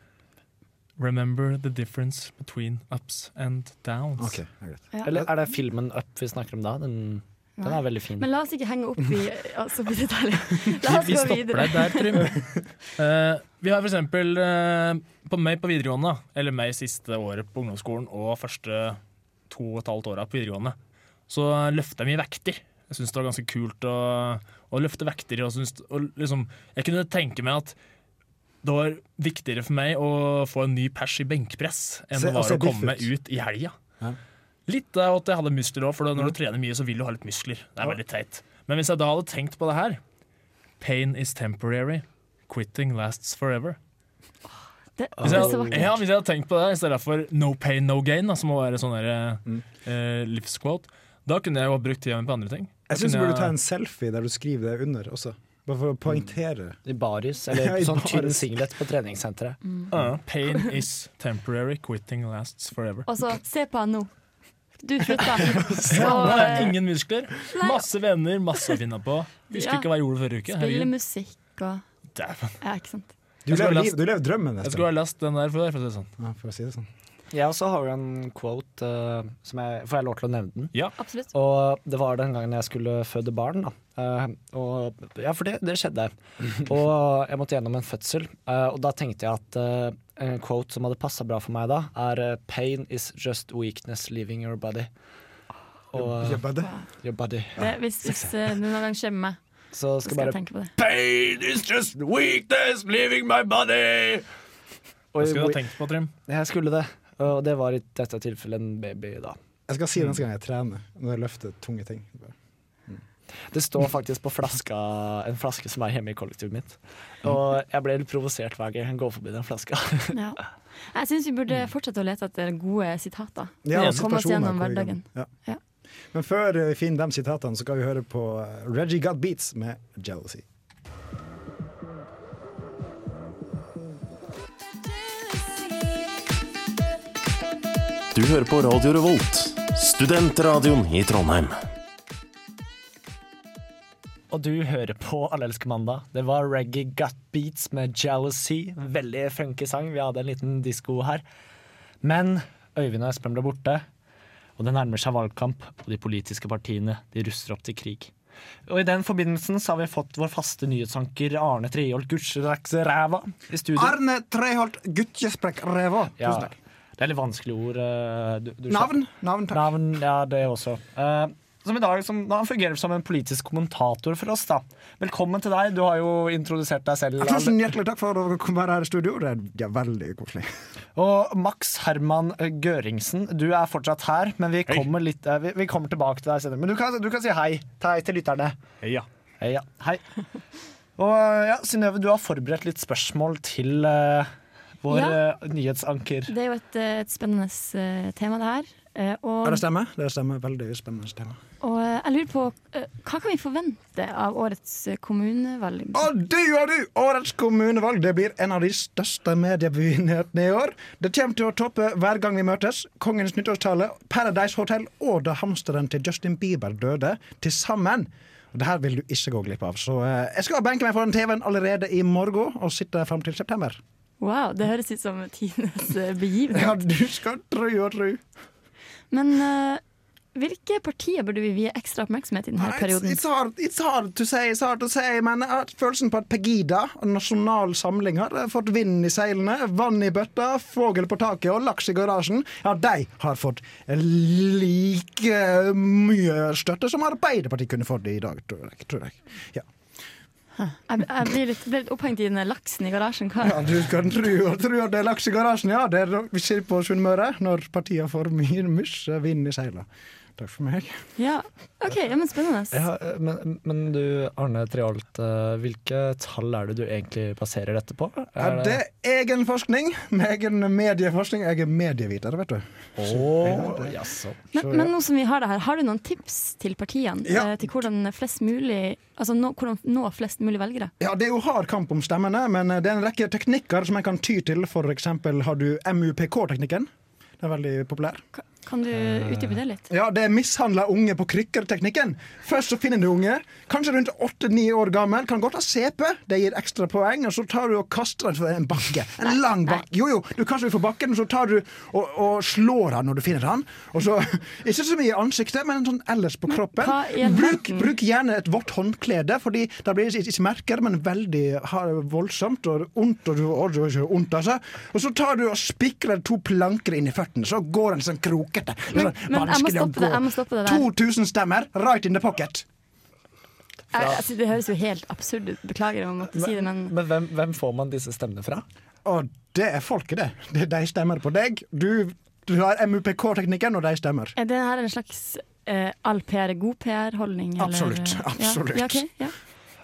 Speaker 5: Remember the difference between ups and downs.
Speaker 2: Ok, ja, greit.
Speaker 4: Ja.
Speaker 3: Eller er det filmen Up vi snakker om da? Den, den
Speaker 4: Nei.
Speaker 3: er veldig fin.
Speaker 4: Men la oss ikke henge opp i altså, på detaljer. La oss
Speaker 5: Vi
Speaker 4: gå
Speaker 5: stopper
Speaker 4: videre.
Speaker 5: deg der, Trym.
Speaker 4: <laughs>
Speaker 5: Eh, vi har for eksempel eh, på meg på videregående, eller meg siste året på ungdomsskolen og første to og et halvt åra på videregående, så løfta jeg mye vekter. Jeg syntes det var ganske kult å, å løfte vekter. Og syntes, og liksom, jeg kunne tenke meg at det var viktigere for meg å få en ny pers i benkpress enn
Speaker 2: Se,
Speaker 5: det var
Speaker 2: altså,
Speaker 5: å
Speaker 2: biff
Speaker 5: komme meg
Speaker 2: ut.
Speaker 5: ut i helga.
Speaker 2: Ja. Mm.
Speaker 5: Litt av at jeg hadde muskler òg, for når du trener mye, så vil du ha litt muskler. Det er veldig teit. Men hvis jeg da hadde tenkt på det her Pain is temporary. Quitting lasts forever.
Speaker 4: Det, det
Speaker 5: Hvis
Speaker 4: er
Speaker 5: jeg,
Speaker 4: så vakkert.
Speaker 5: ja, hvis jeg hadde tenkt på det i stedet for no pain, no gain, da, som må være sånn der, eh, livsquote, da kunne jeg jo ha brukt tida mi på andre ting. Da
Speaker 2: Jeg syns du
Speaker 5: kunne Mm.
Speaker 2: burde ta en selfie der du skriver det under også. Bare for å poengtere.
Speaker 3: I baris,
Speaker 2: Ja,
Speaker 3: eller
Speaker 2: i
Speaker 3: sånn tynn
Speaker 2: baris.
Speaker 3: singlet på treningssenteret.
Speaker 5: Ja, Pain is temporary, quitting lasts forever.
Speaker 4: Og så se på han nå. Du slutta. Så
Speaker 5: Nei,
Speaker 4: eh,
Speaker 5: ingen muskler, masse venner, masse å finne på. Husker
Speaker 4: Ja.
Speaker 5: ikke hva jeg gjorde forrige uke.
Speaker 4: spille
Speaker 5: Herregud.
Speaker 4: musikk og
Speaker 5: Dæven.
Speaker 4: Ja, ikke sant.
Speaker 2: Du
Speaker 5: Jeg skulle
Speaker 2: lever,
Speaker 5: ha
Speaker 2: liv,
Speaker 5: lest-
Speaker 2: du lever drømmen,
Speaker 5: Jeg skulle
Speaker 2: nesten.
Speaker 5: ha lest den der før, for å si det sånn.
Speaker 2: Ja, for å si det sånn.
Speaker 3: Jeg også har jo en quote, eh, som jeg, får jeg lov til å nevne den?
Speaker 4: Absolutt.
Speaker 3: Og det var den gangen jeg skulle føde barn. Da. Eh, og, ja, for det, det skjedde. Og jeg måtte gjennom en fødsel, eh, og da tenkte jeg at eh, en quote som hadde passa bra for meg da, er eh, 'Pain is just weakness leaving your body'. Og eh,
Speaker 2: Jobba det.
Speaker 3: your body.
Speaker 4: Det, hvis hvis eh, det noen gang skjer med meg,
Speaker 3: Så
Speaker 4: så
Speaker 3: skal
Speaker 4: skal jeg
Speaker 3: bare
Speaker 4: tenke på det.
Speaker 9: Pain is just weakness leaving my body.
Speaker 5: Hva
Speaker 3: Oi,
Speaker 5: skulle du ha
Speaker 3: hvor-
Speaker 5: tenkt på, Trym?
Speaker 3: Jeg skulle det. Og det var i dette tilfellet en baby, da.
Speaker 2: Jeg skal si det neste gang jeg trener, når jeg løfter tunge ting.
Speaker 3: Det står faktisk på flaska, en flaske som er hjemme i kollektivet mitt. Og jeg ble litt provosert hver gang jeg går forbi den flaska.
Speaker 4: Ja. Jeg syns vi burde fortsette å lete etter gode sitater.
Speaker 2: Ja,
Speaker 4: og komme oss
Speaker 2: situasjoner
Speaker 4: gjennom
Speaker 2: hvor vi
Speaker 4: hverdagen.
Speaker 2: kan- Ja.
Speaker 4: Ja.
Speaker 2: Men før vi finner de sitatene, så skal vi høre på eh, Reggie Got Beats med 'Jealousy'.
Speaker 11: Du hører på Radio Revolt, studentradioen i Trondheim.
Speaker 3: Og du hører på Allelske mandag. Det var Reggae Gut Beats med Jealousy. Veldig funky sang. Vi hadde en liten disko her. Men Øyvind og Espen ble borte. Og det nærmer seg valgkamp, og de politiske partiene de ruster opp til krig. Og i den forbindelsen så har vi fått vår faste nyhetsanker Arne Treholt Gudsraksræva i studio.
Speaker 2: Arne Treholt, guttjesprekkreva.
Speaker 3: Ja, det er litt vanskelige ord. eh, Du, du
Speaker 2: Navn,
Speaker 3: Navn, ja, det også. Eh, som i dag, som, han fungerer som en politisk kommentator for oss, da. Velkommen til deg. Du har jo introdusert deg selv.
Speaker 2: Tusen hjertelig takk for at dere kom her i studio. Det er det er veldig koselig.
Speaker 3: Og Max Herman Gøringsen, du er fortsatt her, men vi kommer, litt, eh, vi, vi kommer tilbake til deg senere. Men du kan, du kan si hei. Ta hei til lytterne.
Speaker 5: Ja.
Speaker 3: Hei, ja. Hei. Og eh, ja, Synnøve, du har forberedt litt spørsmål til eh, vår
Speaker 4: Ja.
Speaker 3: eh, nyhetsanker.
Speaker 4: Det er jo et, eh, et spennende eh, tema, det her. Eh,
Speaker 2: Ja,
Speaker 4: Og,
Speaker 2: det stemmer. Det stemmer. Veldig spennende tema.
Speaker 4: og eh, jeg lurer på, eh, hva kan vi forvente av årets eh, kommunevalg?
Speaker 2: Og du og du! Årets kommunevalg det blir en av de største mediebegivenhetene i år. Det kommer til å toppe hver gang vi møtes. Kongens nyttårstale, Paradise Hotel og da hamsteren til Justin Bieber døde, til sammen. Og Det her vil du ikke gå glipp av. Så eh, jeg skal benke meg foran TV-en allerede i morgen og sitte fram til september.
Speaker 4: Wow, det høres ut som tidenes eh, begivenhet.
Speaker 2: Ja, du skal tru og tru.
Speaker 4: Men eh, hvilke partier burde vi vie ekstra oppmerksomhet i denne
Speaker 2: Nei, it's-
Speaker 4: perioden?
Speaker 2: It's hard, it's hard to say, it's hard to say, men jeg har følelsen på at Pegida og Nasjonal Samling har eh, fått vind i seilene, vann i bøtta, fogel på taket og laks i garasjen. Ja, de har fått like mye støtte som Arbeiderpartiet kunne fått i dag, tror jeg. Tror jeg. Ja.
Speaker 4: Jeg, jeg blir litt, ble litt opphengt i den laksen i garasjen.
Speaker 2: ja,
Speaker 4: Hva?
Speaker 2: du kan tro og tro at det er laks i garasjen, ja. Det er det vi ser på Sunnmøre når partiene får mye mye vind i seilene. Takk for meg.
Speaker 4: Ja, OK, ja, men spennende.
Speaker 3: Ja, Eh, men, men du Arne Treholt, eh, hvilke tall er det du egentlig baserer dette på?
Speaker 2: Er det egen forskning? Med egen medieforskning? Jeg er medieviter, vet du.
Speaker 3: Åh, jaså.
Speaker 4: Men, men nå som vi har det her, har du noen tips til partiene?
Speaker 2: Ja.
Speaker 4: eh, Til hvordan flest mulig Altså nå, hvordan nå flest mulig velgere?
Speaker 2: Ja, Det er jo hard kamp om stemmene, men eh, det er en rekke teknikker som en kan ty til. For eksempel har du MUPK-teknikken. Den er veldig populær.
Speaker 4: Kan du utdype det litt?
Speaker 2: Ja, Det er mishandla unge på krykker-teknikken. Først så finner du unge, kanskje rundt 8-9 år gammel. Kan godt ha CP, det gir ekstra poeng. Og så tar du og kaster den for en bakke. En lang bakke. Jo, jo, du kaster den for bakken, og så tar du og, og slår han når du finner han. Og så, <laughs> Ikke så mye i ansiktet, men sånn ellers på kroppen.
Speaker 4: hva i all
Speaker 2: Bruk,
Speaker 4: verden?
Speaker 2: bruk gjerne et vått håndklede, Fordi da blir det ikke- ikke merker, men veldig har- voldsomt og ondt. Og, du- og, du- og, du- ondt altså. og så tar du og spikrer to planker inn i føttene, så går den sånn krokete.
Speaker 4: Men,
Speaker 2: sånn
Speaker 4: men jeg, må
Speaker 2: vanskelig å
Speaker 4: stoppe det,
Speaker 2: gå.
Speaker 4: jeg må stoppe det der.
Speaker 2: 2000 stemmer, right in the pocket.
Speaker 4: Jeg, altså, det høres jo helt absurd ut. Beklager om å måtte si det, men
Speaker 3: Men hvem, hvem får man disse stemmene fra?
Speaker 2: Og det er folket, det. det de stemmer på deg. Du, du har MUPK-teknikken, og de stemmer.
Speaker 4: er det her en slags eh, all PR er god PR-holdning? eller-
Speaker 2: Absolutt, absolutt.
Speaker 4: Ja, ja, ok, ja.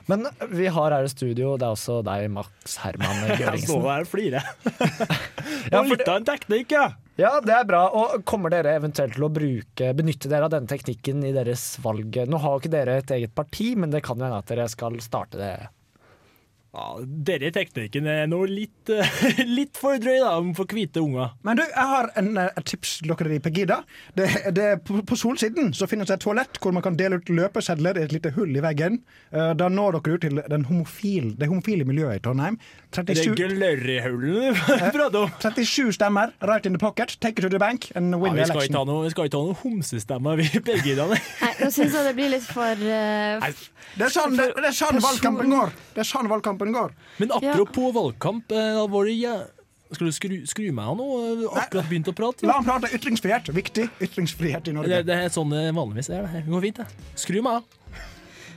Speaker 3: Men vi har her i studio, det er også deg, Max
Speaker 2: <laughs>
Speaker 3: Herman
Speaker 5: Jeg står
Speaker 3: Gørringsen.
Speaker 5: her og <laughs> flirer.
Speaker 3: Ja,
Speaker 5: Og
Speaker 3: for
Speaker 5: litt av en teknikk, ja.
Speaker 3: Ja, det er bra. Og kommer dere eventuelt til å bruke, benytte dere av denne teknikken i deres valg? Nå har jo ikke dere et eget parti, men det kan jo hende at dere skal starte det.
Speaker 5: ja. Denne teknikken er nå litt, eh, <laughs> litt for drøy, da, om for hvite unger.
Speaker 2: Men du, jeg har en, eh, et tips til dere i Pegida. Det, det, er på, på Solsiden så finnes det et toalett hvor man kan dele ut løpesedler i et lite hull i veggen. Eh, da når dere ut til den homofil, det homofile miljøet i Trondheim.
Speaker 5: Er det
Speaker 2: 37,
Speaker 5: glørrhulen du <laughs> prater om?
Speaker 2: 37 stemmer, right in the pocket. Take it to the bank and
Speaker 5: Ja,
Speaker 2: win
Speaker 5: vi
Speaker 2: the
Speaker 5: skal ikke
Speaker 2: election.
Speaker 5: ha noe, vi skal ikke ha noe homsestemmer, vi <laughs> begge i dag.
Speaker 4: Nei, nå syns jeg det blir litt for eh,
Speaker 5: Nei,
Speaker 2: Det er sånn, det, det er sånn
Speaker 4: Person-
Speaker 2: valgkampen går! Det er sånn valgkampen går.
Speaker 5: Men apropos valgkamp, eh, da var det ja. Skal du skru, skru meg av nå? Jeg har Akkurat begynt å prate.
Speaker 2: La ham prate. Ytringsfrihet. Viktig. Ytringsfrihet i Norge.
Speaker 5: Det, det er sånn det vanligvis er. Det her. Det går fint, det. Skru meg av.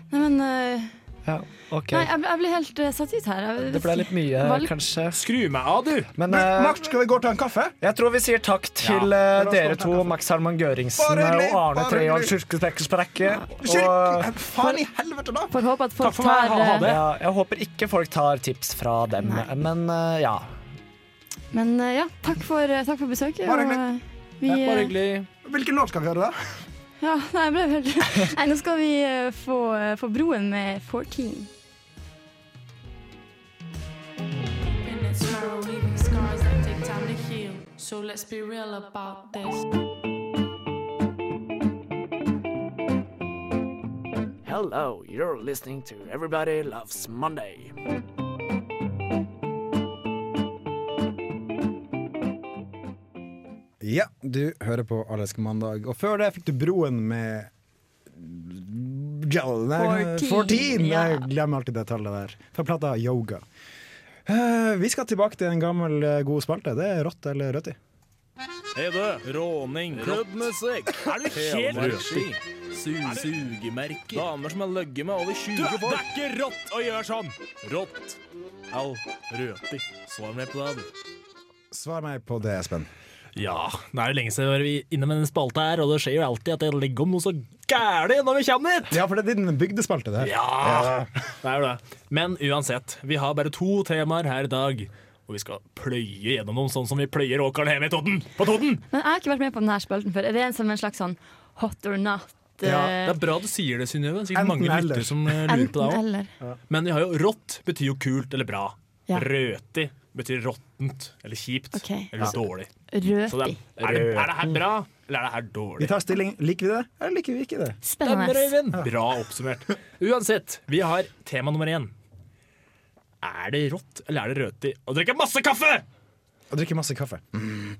Speaker 4: Nei, men eh,
Speaker 3: Ja, ok.
Speaker 4: Nei, jeg, jeg blir helt eh, satt ut her. Jeg,
Speaker 3: Det ble litt mye,
Speaker 4: Valg-
Speaker 3: kanskje.
Speaker 5: Skru meg av, du!
Speaker 3: Men
Speaker 2: Men,
Speaker 3: eh,
Speaker 2: Max, skal vi gå og ta en kaffe?
Speaker 3: jeg tror vi sier takk til eh, dere to, Max Herman Gøringsen
Speaker 2: Bare
Speaker 3: eh,
Speaker 2: hyggelig,
Speaker 3: og Arne
Speaker 2: bare
Speaker 3: Treholt
Speaker 2: hyggelig.
Speaker 3: Kyrkesprekkesprekke. Og
Speaker 2: Kyrk- Faen i helvete, da!
Speaker 4: Får håpe at folk
Speaker 5: Takk for meg,
Speaker 4: tar
Speaker 5: ha- ha
Speaker 4: eh,
Speaker 5: det.
Speaker 3: ja, jeg håper ikke folk tar tips fra dem, men eh, ja.
Speaker 4: Men eh, ja, takk for, eh, takk for besøket.
Speaker 2: Bare
Speaker 4: og,
Speaker 2: hyggelig.
Speaker 4: eh, vi,
Speaker 5: Bare
Speaker 4: eh,
Speaker 5: hyggelig.
Speaker 2: Hvilken låt skal vi høre, da?
Speaker 4: Ja, nei, jeg ble helt <laughs> Nei, nå skal vi eh, få, eh, få broen med 14.
Speaker 12: Hello, you're listening to Everybody Loves Monday.
Speaker 2: Ja, du hører på Allerske mandag, og før det fikk du Broen med ja, nei,
Speaker 4: 14,
Speaker 2: 14!
Speaker 4: ja.
Speaker 2: Jeg glemmer alltid det tallet der. Fra plata Yoga. Eh, vi skal tilbake til en gammel, eh, god spalte. Det er rått eller rødt i.
Speaker 5: Hede, råning, klubbmusikk, er det helt rødski, sugemerker, damer som har løgget med over 20 folk. Det er ikke rått å gjøre sånn! Rått. Au, røti. Svar meg på det, du.
Speaker 2: Svar meg på det, Espen.
Speaker 5: Ja, det er jo lenge siden vi har vært inne med den spalta her, og det skjer jo alltid at jeg legger om noe så gæli når vi kommer hit!
Speaker 2: Ja, for det er din bygdespalte, det her.
Speaker 5: Ja, det er jo det. Men uansett, vi har bare to temaer her i dag. Og vi skal pløye gjennom dem sånn som vi pløyer åkeren hjemme i Toten. På Toten!
Speaker 4: Men jeg har ikke vært med på denne spalten før. Er det en som en slags sånn hot or not?
Speaker 2: Ja,
Speaker 4: eh,
Speaker 5: Det er bra du sier det, Synnøve. Sikkert
Speaker 2: Enten
Speaker 5: mange
Speaker 2: eller.
Speaker 5: lytter som eh, lurer på det
Speaker 4: Enten
Speaker 5: også.
Speaker 4: eller.
Speaker 5: Men vi har jo rått betyr jo kult eller bra.
Speaker 4: Ja.
Speaker 5: Røti betyr råttent eller kjipt
Speaker 4: Ok.
Speaker 5: eller dårlig. Så det
Speaker 4: Røti.
Speaker 5: er, er, det, er det her bra, eller er det her
Speaker 2: Vi
Speaker 5: dårlig?
Speaker 2: tar stilling. Liker vi det, eller liker vi ikke det?
Speaker 5: Stemmer,
Speaker 4: Spennende.
Speaker 5: Øyvind. Bra oppsummert. Uansett, vi har tema nummer én. Er det rått eller er det røti å drikke masse kaffe?
Speaker 2: Og drikker masse kaffe. Mm.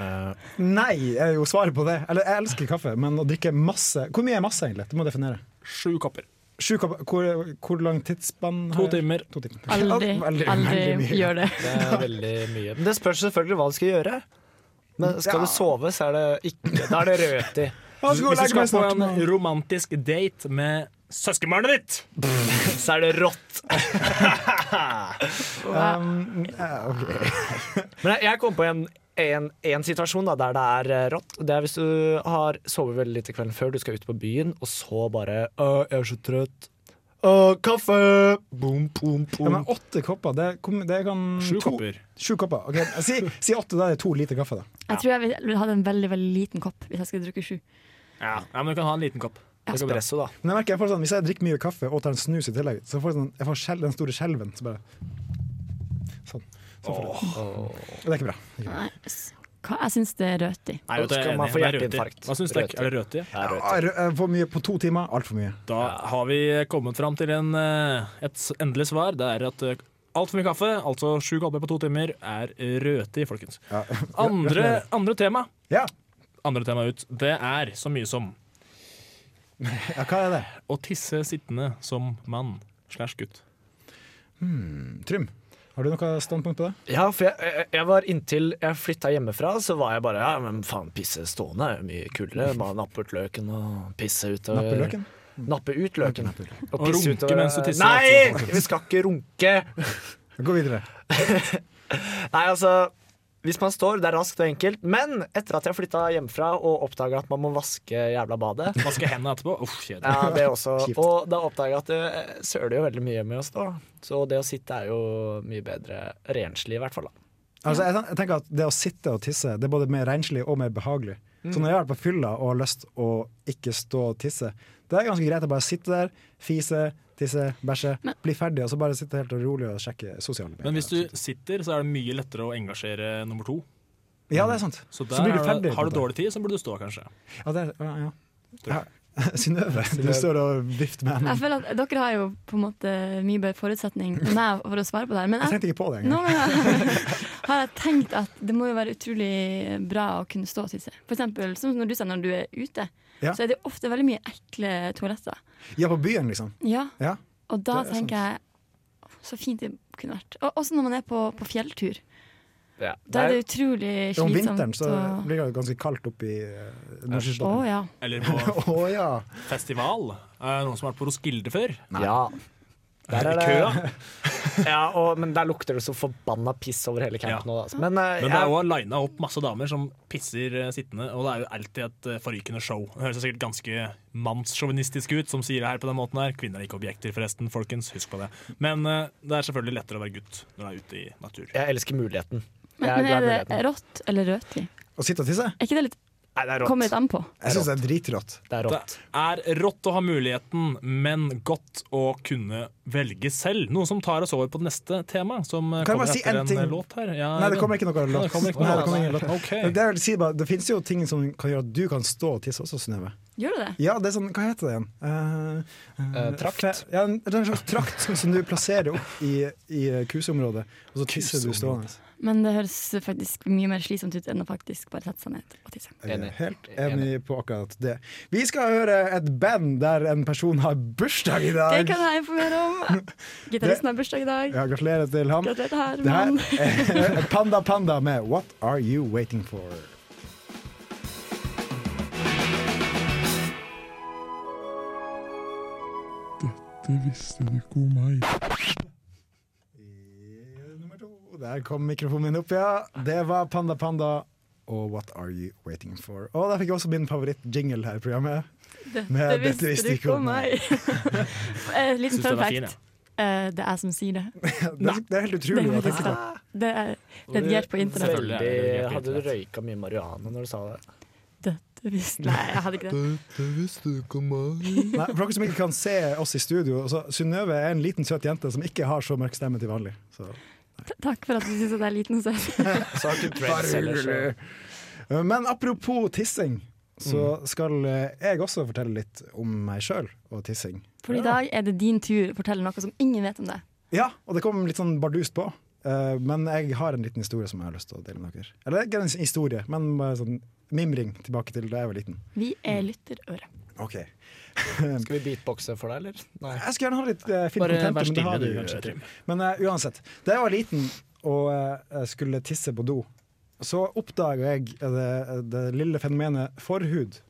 Speaker 2: Eh, Nei, er jo svaret på det. Eller jeg elsker kaffe, men å drikke masse Hvor mye er masse, egentlig? Du må definere.
Speaker 5: Sju kopper.
Speaker 2: Sju kopper Hvor, hvor lang tidsspann? har
Speaker 5: To
Speaker 2: jeg?
Speaker 5: timer.
Speaker 2: To timer.
Speaker 4: Aldri,
Speaker 2: Ja, veldig- veldig
Speaker 4: aldri
Speaker 2: mye.
Speaker 4: gjør det.
Speaker 3: Det er veldig mye. Men det spørs selvfølgelig hva du skal gjøre. Men skal du sove, så er det ikke Da er det røti.
Speaker 2: Jeg skal gå og
Speaker 5: Hvis du
Speaker 2: legge meg
Speaker 5: skal på
Speaker 2: snart.
Speaker 5: en romantisk date med søskenbarnet ditt, så er det
Speaker 2: <laughs>
Speaker 5: rått.
Speaker 2: Um, ja, ok.
Speaker 3: Men jeg, jeg kom på en en, en situasjon da, der det er eh, rått, det er hvis du har sovet veldig lite kvelden før, du skal ut på byen, og så bare «Å, 'Jeg er så trøtt'. «Å, kaffe! Boom, boom, boom.
Speaker 2: Ja, men åtte kopper, det, kom, det kan
Speaker 5: Sju
Speaker 2: to-
Speaker 5: kopper.
Speaker 2: Sju kopper. ok. Si, si åtte, da er det to liter kaffe. da
Speaker 4: Jeg tror jeg ville hatt en veldig veldig liten kopp hvis jeg skulle drukket sju.
Speaker 5: Ja, ja, men du kan ha en liten kopp. Det går bra.
Speaker 3: Espresso, da.
Speaker 2: Men jeg merker jeg får sånn, Hvis jeg drikker mye kaffe og tar en snus i tillegg, så får jeg, sånn, jeg får skjel- den store skjelven. Så bare Sånn. sånn får jeg det. det er ikke bra. Det er ikke bra.
Speaker 4: Nei, s- hva? Jeg syns det er røti.
Speaker 5: Nei, vet du, jeg er
Speaker 3: Skal man
Speaker 5: enig.
Speaker 3: få
Speaker 5: Det er røti.
Speaker 3: hjerteinfarkt?
Speaker 5: Hva syns dere? Er det røti?
Speaker 2: Ja, rø- eh, For mye på to timer. Altfor mye.
Speaker 5: Da har vi kommet fram til en, eh, et s- endelig svar. Det er at eh, altfor mye kaffe, altså sju kopper på to timer, er røti, folkens.
Speaker 2: Ja. <laughs>
Speaker 5: Andre, andre tema
Speaker 2: Ja.
Speaker 5: Andre tema ut, det er så mye som
Speaker 2: ja, hva er det?
Speaker 5: å tisse sittende som mann slash gutt.
Speaker 2: Hmm. Trym, har du noe standpunkt på det?
Speaker 3: Ja, for jeg, jeg, jeg var inntil jeg flytta hjemmefra, så var jeg bare Ja, men faen, pisse stående er jo mye kulere. Bare nappe ut løken og pisse utover.
Speaker 5: Eh.
Speaker 2: Nappe løken?
Speaker 3: Nappe ut løken.
Speaker 5: Og runke mens du tisser,
Speaker 3: Nei!
Speaker 5: altså.
Speaker 3: Vi skal ikke runke!
Speaker 2: Gå videre.
Speaker 3: Nei, altså Hvis man står, det er raskt og enkelt. Men etter at jeg flytta hjemmefra og oppdaga at man må vaske jævla badet <laughs>
Speaker 5: Vaske hendene etterpå. Uff, kjedelig.
Speaker 3: ja, det også.
Speaker 2: Kjipt.
Speaker 3: Og da oppdaga jeg at det søler jo veldig mye med å stå. Så det å sitte er jo mye bedre renslig, i hvert fall. da
Speaker 2: Altså, jeg, ten- jeg tenker at Det å sitte og tisse Det er både mer renslig og mer behagelig.
Speaker 4: Mm.
Speaker 2: Så når jeg har vært på fylla og har lyst å ikke stå og tisse, det er ganske greit å bare sitte der, fise, tisse, bæsje, bli ferdig, og så bare sitte helt rolig og sjekke sosiale medier.
Speaker 5: Men hvis du sitter, så er det mye lettere å engasjere nummer to.
Speaker 2: Ja, det er sant.
Speaker 5: Så,
Speaker 2: Så,
Speaker 5: der
Speaker 2: blir du
Speaker 5: er
Speaker 2: ferdig.
Speaker 5: det, har du
Speaker 2: på det.
Speaker 5: dårlig tid, så burde du stå, kanskje.
Speaker 2: Ja, det er, ja, ja. ja. <laughs> Synnøve, du står og vifter med
Speaker 4: Jeg
Speaker 2: hendene.
Speaker 4: føler at Dere har jo på en måte mye bedre forutsetning enn meg for å svare på det her. Men
Speaker 2: Jeg
Speaker 4: jeg,
Speaker 2: tenkte ikke på det engang.
Speaker 4: noen ganger <laughs> har jeg tenkt at det må jo være utrolig bra å kunne stå og tisse. For eksempel, som når du sier når du er ute,
Speaker 2: Ja.
Speaker 4: så er det jo ofte veldig mye ekle toaletter.
Speaker 2: Ja, på byen, liksom.
Speaker 4: Ja,
Speaker 2: Ja.
Speaker 4: Og da
Speaker 2: Det er
Speaker 4: tenker jeg så fint det kunne vært. Og også når man er på, på fjelltur.
Speaker 3: Ja.
Speaker 4: Da er det utrolig
Speaker 2: Ja, Om
Speaker 4: slitsomt.
Speaker 2: vinteren så
Speaker 4: å-
Speaker 2: blir det ganske kaldt oppe i eh,
Speaker 4: Å
Speaker 2: Nordsjøsjøen.
Speaker 4: ja.
Speaker 5: Eller på
Speaker 2: <laughs> Å ja.
Speaker 5: festival. Er det noen som har vært på Roskilde før?
Speaker 3: Ja. Der er
Speaker 5: I
Speaker 3: det
Speaker 5: køa.
Speaker 3: Ja, og, men der lukter det så forbanna piss over hele
Speaker 5: Ja.
Speaker 3: campen. nå, Altså. Men, eh,
Speaker 5: Men det er
Speaker 3: jeg,
Speaker 5: jo lina opp masse damer som pisser eh, sittende, og det er jo alltid et eh, forrykende show. Det høres jo sikkert ganske mannssjåvinistisk ut som sier det her på den måten her. Kvinner er ikke objekter, forresten, folkens. Husk på det. Men eh, det er selvfølgelig lettere å være gutt når du er ute i natur.
Speaker 3: jeg elsker muligheten.
Speaker 4: Men,
Speaker 3: Jeg er
Speaker 4: men
Speaker 3: glad i
Speaker 4: er det
Speaker 3: muligheten.
Speaker 4: rått eller røti?
Speaker 2: Å sitte og tisse?
Speaker 4: Er ikke det litt
Speaker 3: Nei, det er rått.
Speaker 4: Kommer litt an på.
Speaker 2: Jeg syns det er dritrått.
Speaker 3: Det er
Speaker 5: Det
Speaker 3: rått.
Speaker 5: er rått å ha muligheten, men godt å kunne velge selv. Noe som tar oss over på neste tema, som eh,
Speaker 2: Kan jeg bare
Speaker 5: kommer
Speaker 2: si
Speaker 5: etter
Speaker 2: en
Speaker 5: en
Speaker 2: ting?
Speaker 5: eh, låt her. Ja,
Speaker 2: Nei, det
Speaker 5: Even.
Speaker 2: kommer ikke noe
Speaker 5: Ja,
Speaker 2: låt.
Speaker 5: det kommer ikke
Speaker 2: Nei,
Speaker 5: noe
Speaker 2: det kommer ingen låt.
Speaker 5: Ok.
Speaker 2: Det, jeg vil si bare, det finnes jo ting som kan gjøre at du kan stå og tisse også, Synnøve.
Speaker 4: Gjør det det?
Speaker 2: Ja, det er sånn, hva heter det igjen? Eh, eh,
Speaker 3: Eh, trakt?
Speaker 2: fe- Ja, en, det er en slags trakt som, som du plasserer opp i, i kuseområdet, og så tisser du stående.
Speaker 4: Men det høres faktisk mye mer slitsomt ut enn å faktisk bare sette seg ned og tisse.
Speaker 2: Jeg er
Speaker 3: Enig.
Speaker 2: helt enig på akkurat det. Vi skal høre et band der en person har bursdag i
Speaker 4: Det
Speaker 2: dag.
Speaker 4: kan jeg informere om. Gitaristen har bursdag i dag.
Speaker 2: Ja, gratulerer til ham.
Speaker 4: Gratulerer til
Speaker 2: Det
Speaker 4: Herman.
Speaker 2: her er <laughs> Panda Panda med What Are You Waiting For?
Speaker 7: Du visste du ikke om meg.
Speaker 2: Nummer to. Der kom mikrofonen min opp, ja. Det var Panda Panda og What Are You Waiting For? Og der fikk jeg også min favoritt-jingle her i programmet. Med
Speaker 4: Det visste du ikke om meg. <laughs> Eh, Liten
Speaker 5: Syns det
Speaker 4: fun
Speaker 5: var fin,
Speaker 4: fact. Eh, Det er jeg som sier det.
Speaker 2: Det er, det er helt
Speaker 4: Det
Speaker 2: utrolig.
Speaker 4: er
Speaker 2: å
Speaker 4: faktisk
Speaker 2: tenke på.
Speaker 4: sant. Det er redigert på internett.
Speaker 5: Selvfølgelig er det
Speaker 3: Veldig,
Speaker 5: redigert på
Speaker 3: hadde du
Speaker 5: internett.
Speaker 3: røyka mye marihuana når du sa det?
Speaker 4: Dette visste Nei, jeg hadde ikke det.
Speaker 2: Nei, for dere som ikke kan se oss i studio, så Synnøve er en liten, søt jente som ikke har så mørk stemme til vanlig. Så.
Speaker 4: T- Takk for at du syns jeg er liten og søt.
Speaker 3: Så har ikke dreads heller, så
Speaker 2: Uh, Men apropos tissing, så skal uh, jeg også fortelle litt om meg sjøl og tissing.
Speaker 4: For i dag er det din tur å fortelle noe som ingen vet om deg.
Speaker 2: Ja, og det kom litt sånn bardust på. Uh, Men jeg har en liten historie som jeg har lyst til å dele med dere. Eller ikke en historie, men bare sånn mimring tilbake til da jeg var liten.
Speaker 4: Vi er
Speaker 2: Mm.
Speaker 4: lytterøre.
Speaker 2: Ok
Speaker 3: Skal vi beatboxe for deg, eller? Nei.
Speaker 2: Jeg skulle gjerne ha litt uh, fint
Speaker 5: Bare
Speaker 2: content,
Speaker 5: vær
Speaker 2: men det
Speaker 5: stille
Speaker 2: har
Speaker 5: du,
Speaker 2: vi jo
Speaker 5: kanskje,
Speaker 2: ikke.
Speaker 5: Trym.
Speaker 2: Men eh, uansett. Da jeg var liten og eh, skulle eh, tisse på do, så oppdaga jeg det, det lille fenomenet forhud.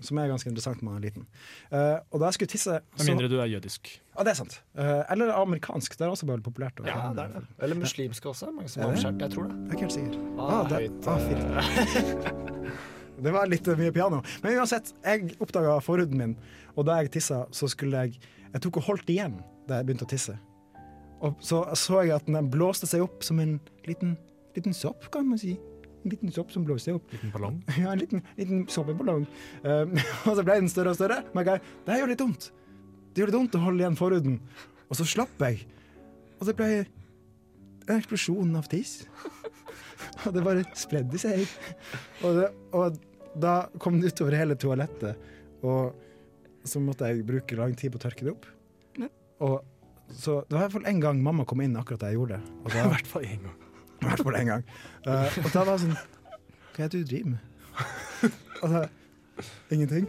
Speaker 2: Som er ganske interessant når man er liten. Eh, og da jeg skulle tisse
Speaker 5: Med mindre du er jødisk.
Speaker 2: Ja, det er sant. Eh, eller amerikansk. Det er også veldig populært. å-
Speaker 3: Ja, det er det. Eller muslimske også. Mange som
Speaker 2: Er
Speaker 3: har
Speaker 2: det?
Speaker 3: omskjært. Jeg tror det.
Speaker 2: Jeg er ikke helt sikker.
Speaker 3: Ah,
Speaker 2: Ah, det, ah, fint. <laughs> det var litt eh, mye piano. Men uansett, jeg oppdaga forhuden min, og da jeg tissa, så skulle jeg Jeg tok og holdt igjen da jeg begynte å tisse. Og så så jeg at den blåste seg opp som en liten, liten sopp, kan man si. En liten sopp som blåste opp.
Speaker 5: Liten ballong?
Speaker 2: <laughs> Ja, en liten, liten soppeballong. Um, <laughs> og så ble den større og større. Men jeg, det her gjør litt vondt. Det gjør litt vondt å holde igjen forhuden. Og så slapp jeg. Og det ble en eksplosjon av tiss. Og det bare spredde seg. Og, det, og da kom det utover hele toalettet. Og så måtte jeg bruke lang tid på å tørke det opp.
Speaker 4: Men-
Speaker 2: Og så Det var i hvert fall én gang mamma kom inn akkurat da jeg gjorde det.
Speaker 5: <laughs>
Speaker 2: Og da,
Speaker 5: I hvert fall én gang.
Speaker 2: i hvert fall en gang. Eh, og da var jeg sånn Hva er det du
Speaker 5: <laughs>
Speaker 2: driver med? altså, ingenting.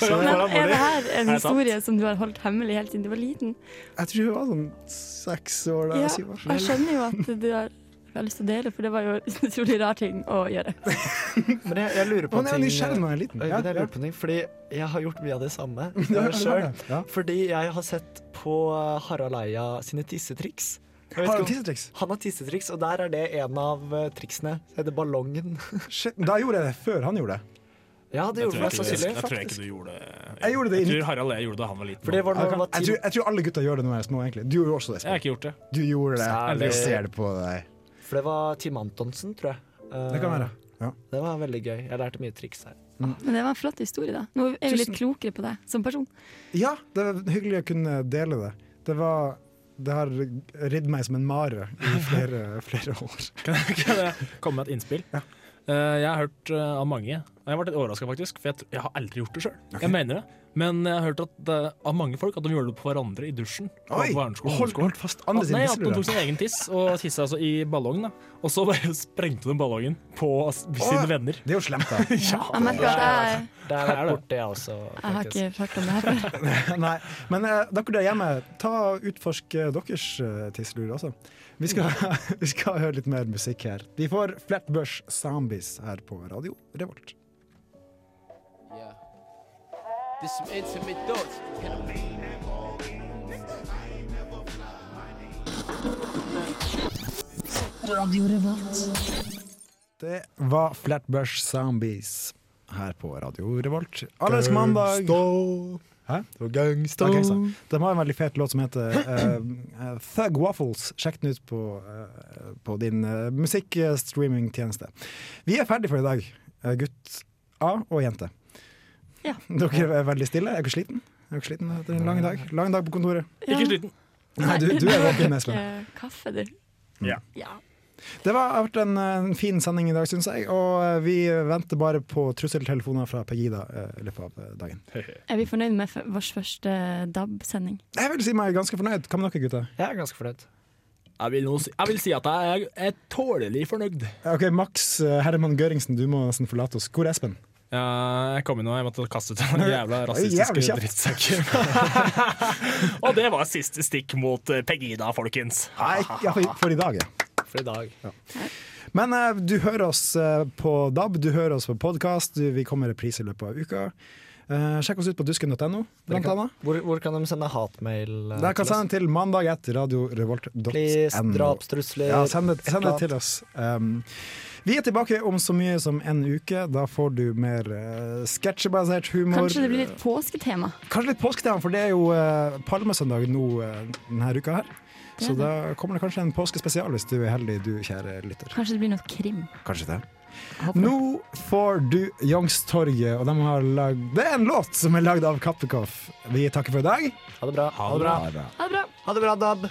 Speaker 2: Så jeg,
Speaker 4: Men er det her
Speaker 2: Er
Speaker 4: en
Speaker 2: det sant?
Speaker 4: historie som du har holdt hemmelig helt siden du var liten?
Speaker 2: jeg tror jeg var sånn seks år da.
Speaker 4: Ja,
Speaker 2: syv
Speaker 4: og
Speaker 2: år.
Speaker 4: jeg skjønner jo at du har jeg har lyst til å dele, for det var jo en utrolig rar ting å gjøre.
Speaker 3: Men jeg, jeg lurer på
Speaker 2: Å, nei,
Speaker 3: en ting,
Speaker 2: nysgjerrig når jeg er liten.
Speaker 3: Øyvind,
Speaker 2: Ja, ja.
Speaker 3: jeg lurer på en ting, fordi jeg har gjort mye av det samme
Speaker 2: Ja,
Speaker 3: eh,
Speaker 2: det har
Speaker 3: selv.
Speaker 2: jeg. Ja.
Speaker 3: Fordi jeg har sett på eh, Harald Eia sine tissetriks. Jeg
Speaker 2: Har
Speaker 3: vet
Speaker 2: han
Speaker 3: ikke om-
Speaker 2: tissetriks?
Speaker 3: Han har tissetriks, og der er det en av eh, triksene. Det heter ballongen.
Speaker 2: Shit, da gjorde jeg det før han gjorde det.
Speaker 3: Ja, det
Speaker 5: Jeg
Speaker 3: gjorde
Speaker 5: tror
Speaker 3: mest
Speaker 5: ikke, jeg,
Speaker 3: sannsynlig,
Speaker 5: tror
Speaker 3: faktisk.
Speaker 5: ikke du gjorde det.
Speaker 2: Jeg gjorde det i
Speaker 5: Jeg tror Harald jeg gjorde det da han var liten.
Speaker 3: For det var når
Speaker 2: Jeg,
Speaker 3: han
Speaker 2: kan,
Speaker 3: var
Speaker 2: jeg, tror, jeg tror alle gutter gjør det når de er små, egentlig. Du gjorde også det.
Speaker 5: Jeg har
Speaker 2: <laughs>
Speaker 5: ikke gjort det.
Speaker 2: Du gjorde det.
Speaker 3: Særlig.
Speaker 2: Jeg ser det på deg.
Speaker 3: For det var Tim Antonsen, tror jeg. Eh,
Speaker 2: Det kan være. Ja.
Speaker 3: Det var veldig gøy. Jeg lærte mye triks her.
Speaker 4: Men det var en flott historie, da. Nå er vi litt klokere på deg som person.
Speaker 2: Ja, det var hyggelig å kunne dele det. Det var Det har ridd meg som en mare i flere, flere år.
Speaker 5: Kan jeg komme med et innspill? Eh, jeg har hørt eh, av mange og Jeg ble litt overraska, faktisk, for jeg, tr- jeg har aldri gjort det sjøl. Jeg mener det. Men jeg har hørt at, eh, av mange folk at de gjorde det på hverandre i dusjen. på
Speaker 2: Oi,
Speaker 5: barneskolen,
Speaker 2: hold-
Speaker 5: ungdomsskolen.
Speaker 2: hold fast andre sin
Speaker 5: Nei, at
Speaker 2: tisselure.
Speaker 5: de tok sin egen tiss og tissa altså i ballongen. Da. Og så bare <laughs> sprengte de ballongen på s- sine venner.
Speaker 2: Det er jo slemt, da.
Speaker 4: Jeg merker at jeg,
Speaker 3: Det har
Speaker 5: Er
Speaker 3: vært
Speaker 5: det?
Speaker 3: borti, jeg også.
Speaker 9: altså.
Speaker 4: jeg har ikke hørt om det her før.
Speaker 2: <laughs> Nei, men eh, dere der hjemme, ta og utforsk eh, deres uh, tisselure også. Vi skal, <laughs> vi skal høre litt mer musikk her. Vi får Flatbush Zombies her på Radio Revolt.
Speaker 13: Yeah. There's some intimate thoughts. Can I-
Speaker 6: Radio Revolt.
Speaker 2: Det var Flatbush Zombies her på Radio Revolt. Alles mandag. Hæ?
Speaker 3: Gangsta.
Speaker 2: Ok, så. De har en veldig fet låt som heter eh, eh, Thug Waffles. Sjekk den ut på, eh, på din eh, musikkstreamingtjeneste. Vi er ferdig for i dag, eh, gutt A og jente.
Speaker 4: Ja.
Speaker 2: Dere er veldig stille. Er dere sliten? Er dere sliten etter en lang dag? Lang dag på kontoret.
Speaker 4: Ja. Ikke
Speaker 5: sliten.
Speaker 2: Nei, du, du er våken, Espen.
Speaker 4: Eh, <laughs> Kaffe, du.
Speaker 5: Ja.
Speaker 4: Ja.
Speaker 2: Det var, har vært en, eh, en fin sending i dag, syns jeg. Og eh, vi venter bare på trusseltelefoner fra Pegida eh, i løpet av eh, dagen.
Speaker 4: Er vi fornøyd med f- vår første DAB-sending?
Speaker 2: Jeg vil si meg ganske fornøyd. Hva med dere, gutter?
Speaker 3: Jeg er ganske fornøyd.
Speaker 5: Jeg vil, nå si, jeg vil si at jeg er tålelig fornøyd.
Speaker 2: Ok, Max eh, Herman Gøringsen, du må nesten forlate oss. Hvor er Espen?
Speaker 5: Ja, jeg kom inn og jeg måtte kaste ut den jævla
Speaker 2: Oi, jævlig
Speaker 5: rasistiske
Speaker 2: kjapt.
Speaker 5: drittsekken. <laughs> og det var siste stikk mot eh, Pegida, folkens.
Speaker 2: Nei, ja, for, for i dag, ja.
Speaker 3: For i dag.
Speaker 2: Men eh, du hører oss eh, på DAB, du hører oss på podkast, vi kommer med reprise i løpet av uka. Eh, sjekk oss ut på dusken.no,
Speaker 3: Dere
Speaker 2: blant
Speaker 3: kan-
Speaker 2: annet.
Speaker 3: Hvor, hvor kan de sende hatmail? eh,
Speaker 2: Der kan
Speaker 3: til oss?
Speaker 2: sende til mandag etter radiorevolt.no.
Speaker 3: Please, drapstrusler,
Speaker 4: Eh,
Speaker 2: Ja, send det, send det
Speaker 3: et eller
Speaker 2: til oss. Um, vi er tilbake om så mye som en uke. Da får du mer eh, sketsjebasert humor.
Speaker 4: Kanskje det blir litt påsketema?
Speaker 2: Kanskje litt påsketema, for det er jo eh, palmesøndag nå eh, denne uka her.
Speaker 4: Det
Speaker 2: Så
Speaker 4: er det.
Speaker 2: da kommer det kanskje en påskespesial hvis du er heldig, du kjære lytter.
Speaker 4: Kanskje det blir noe krim?
Speaker 2: Kanskje det. Nå får du Youngstorget, og de har lagd Det er en låt som er lagd av Kappekoff. Vi takker for i dag.
Speaker 3: Ha det bra.
Speaker 2: Ha det bra.
Speaker 4: Ha det bra.
Speaker 3: Ha det bra, Dab.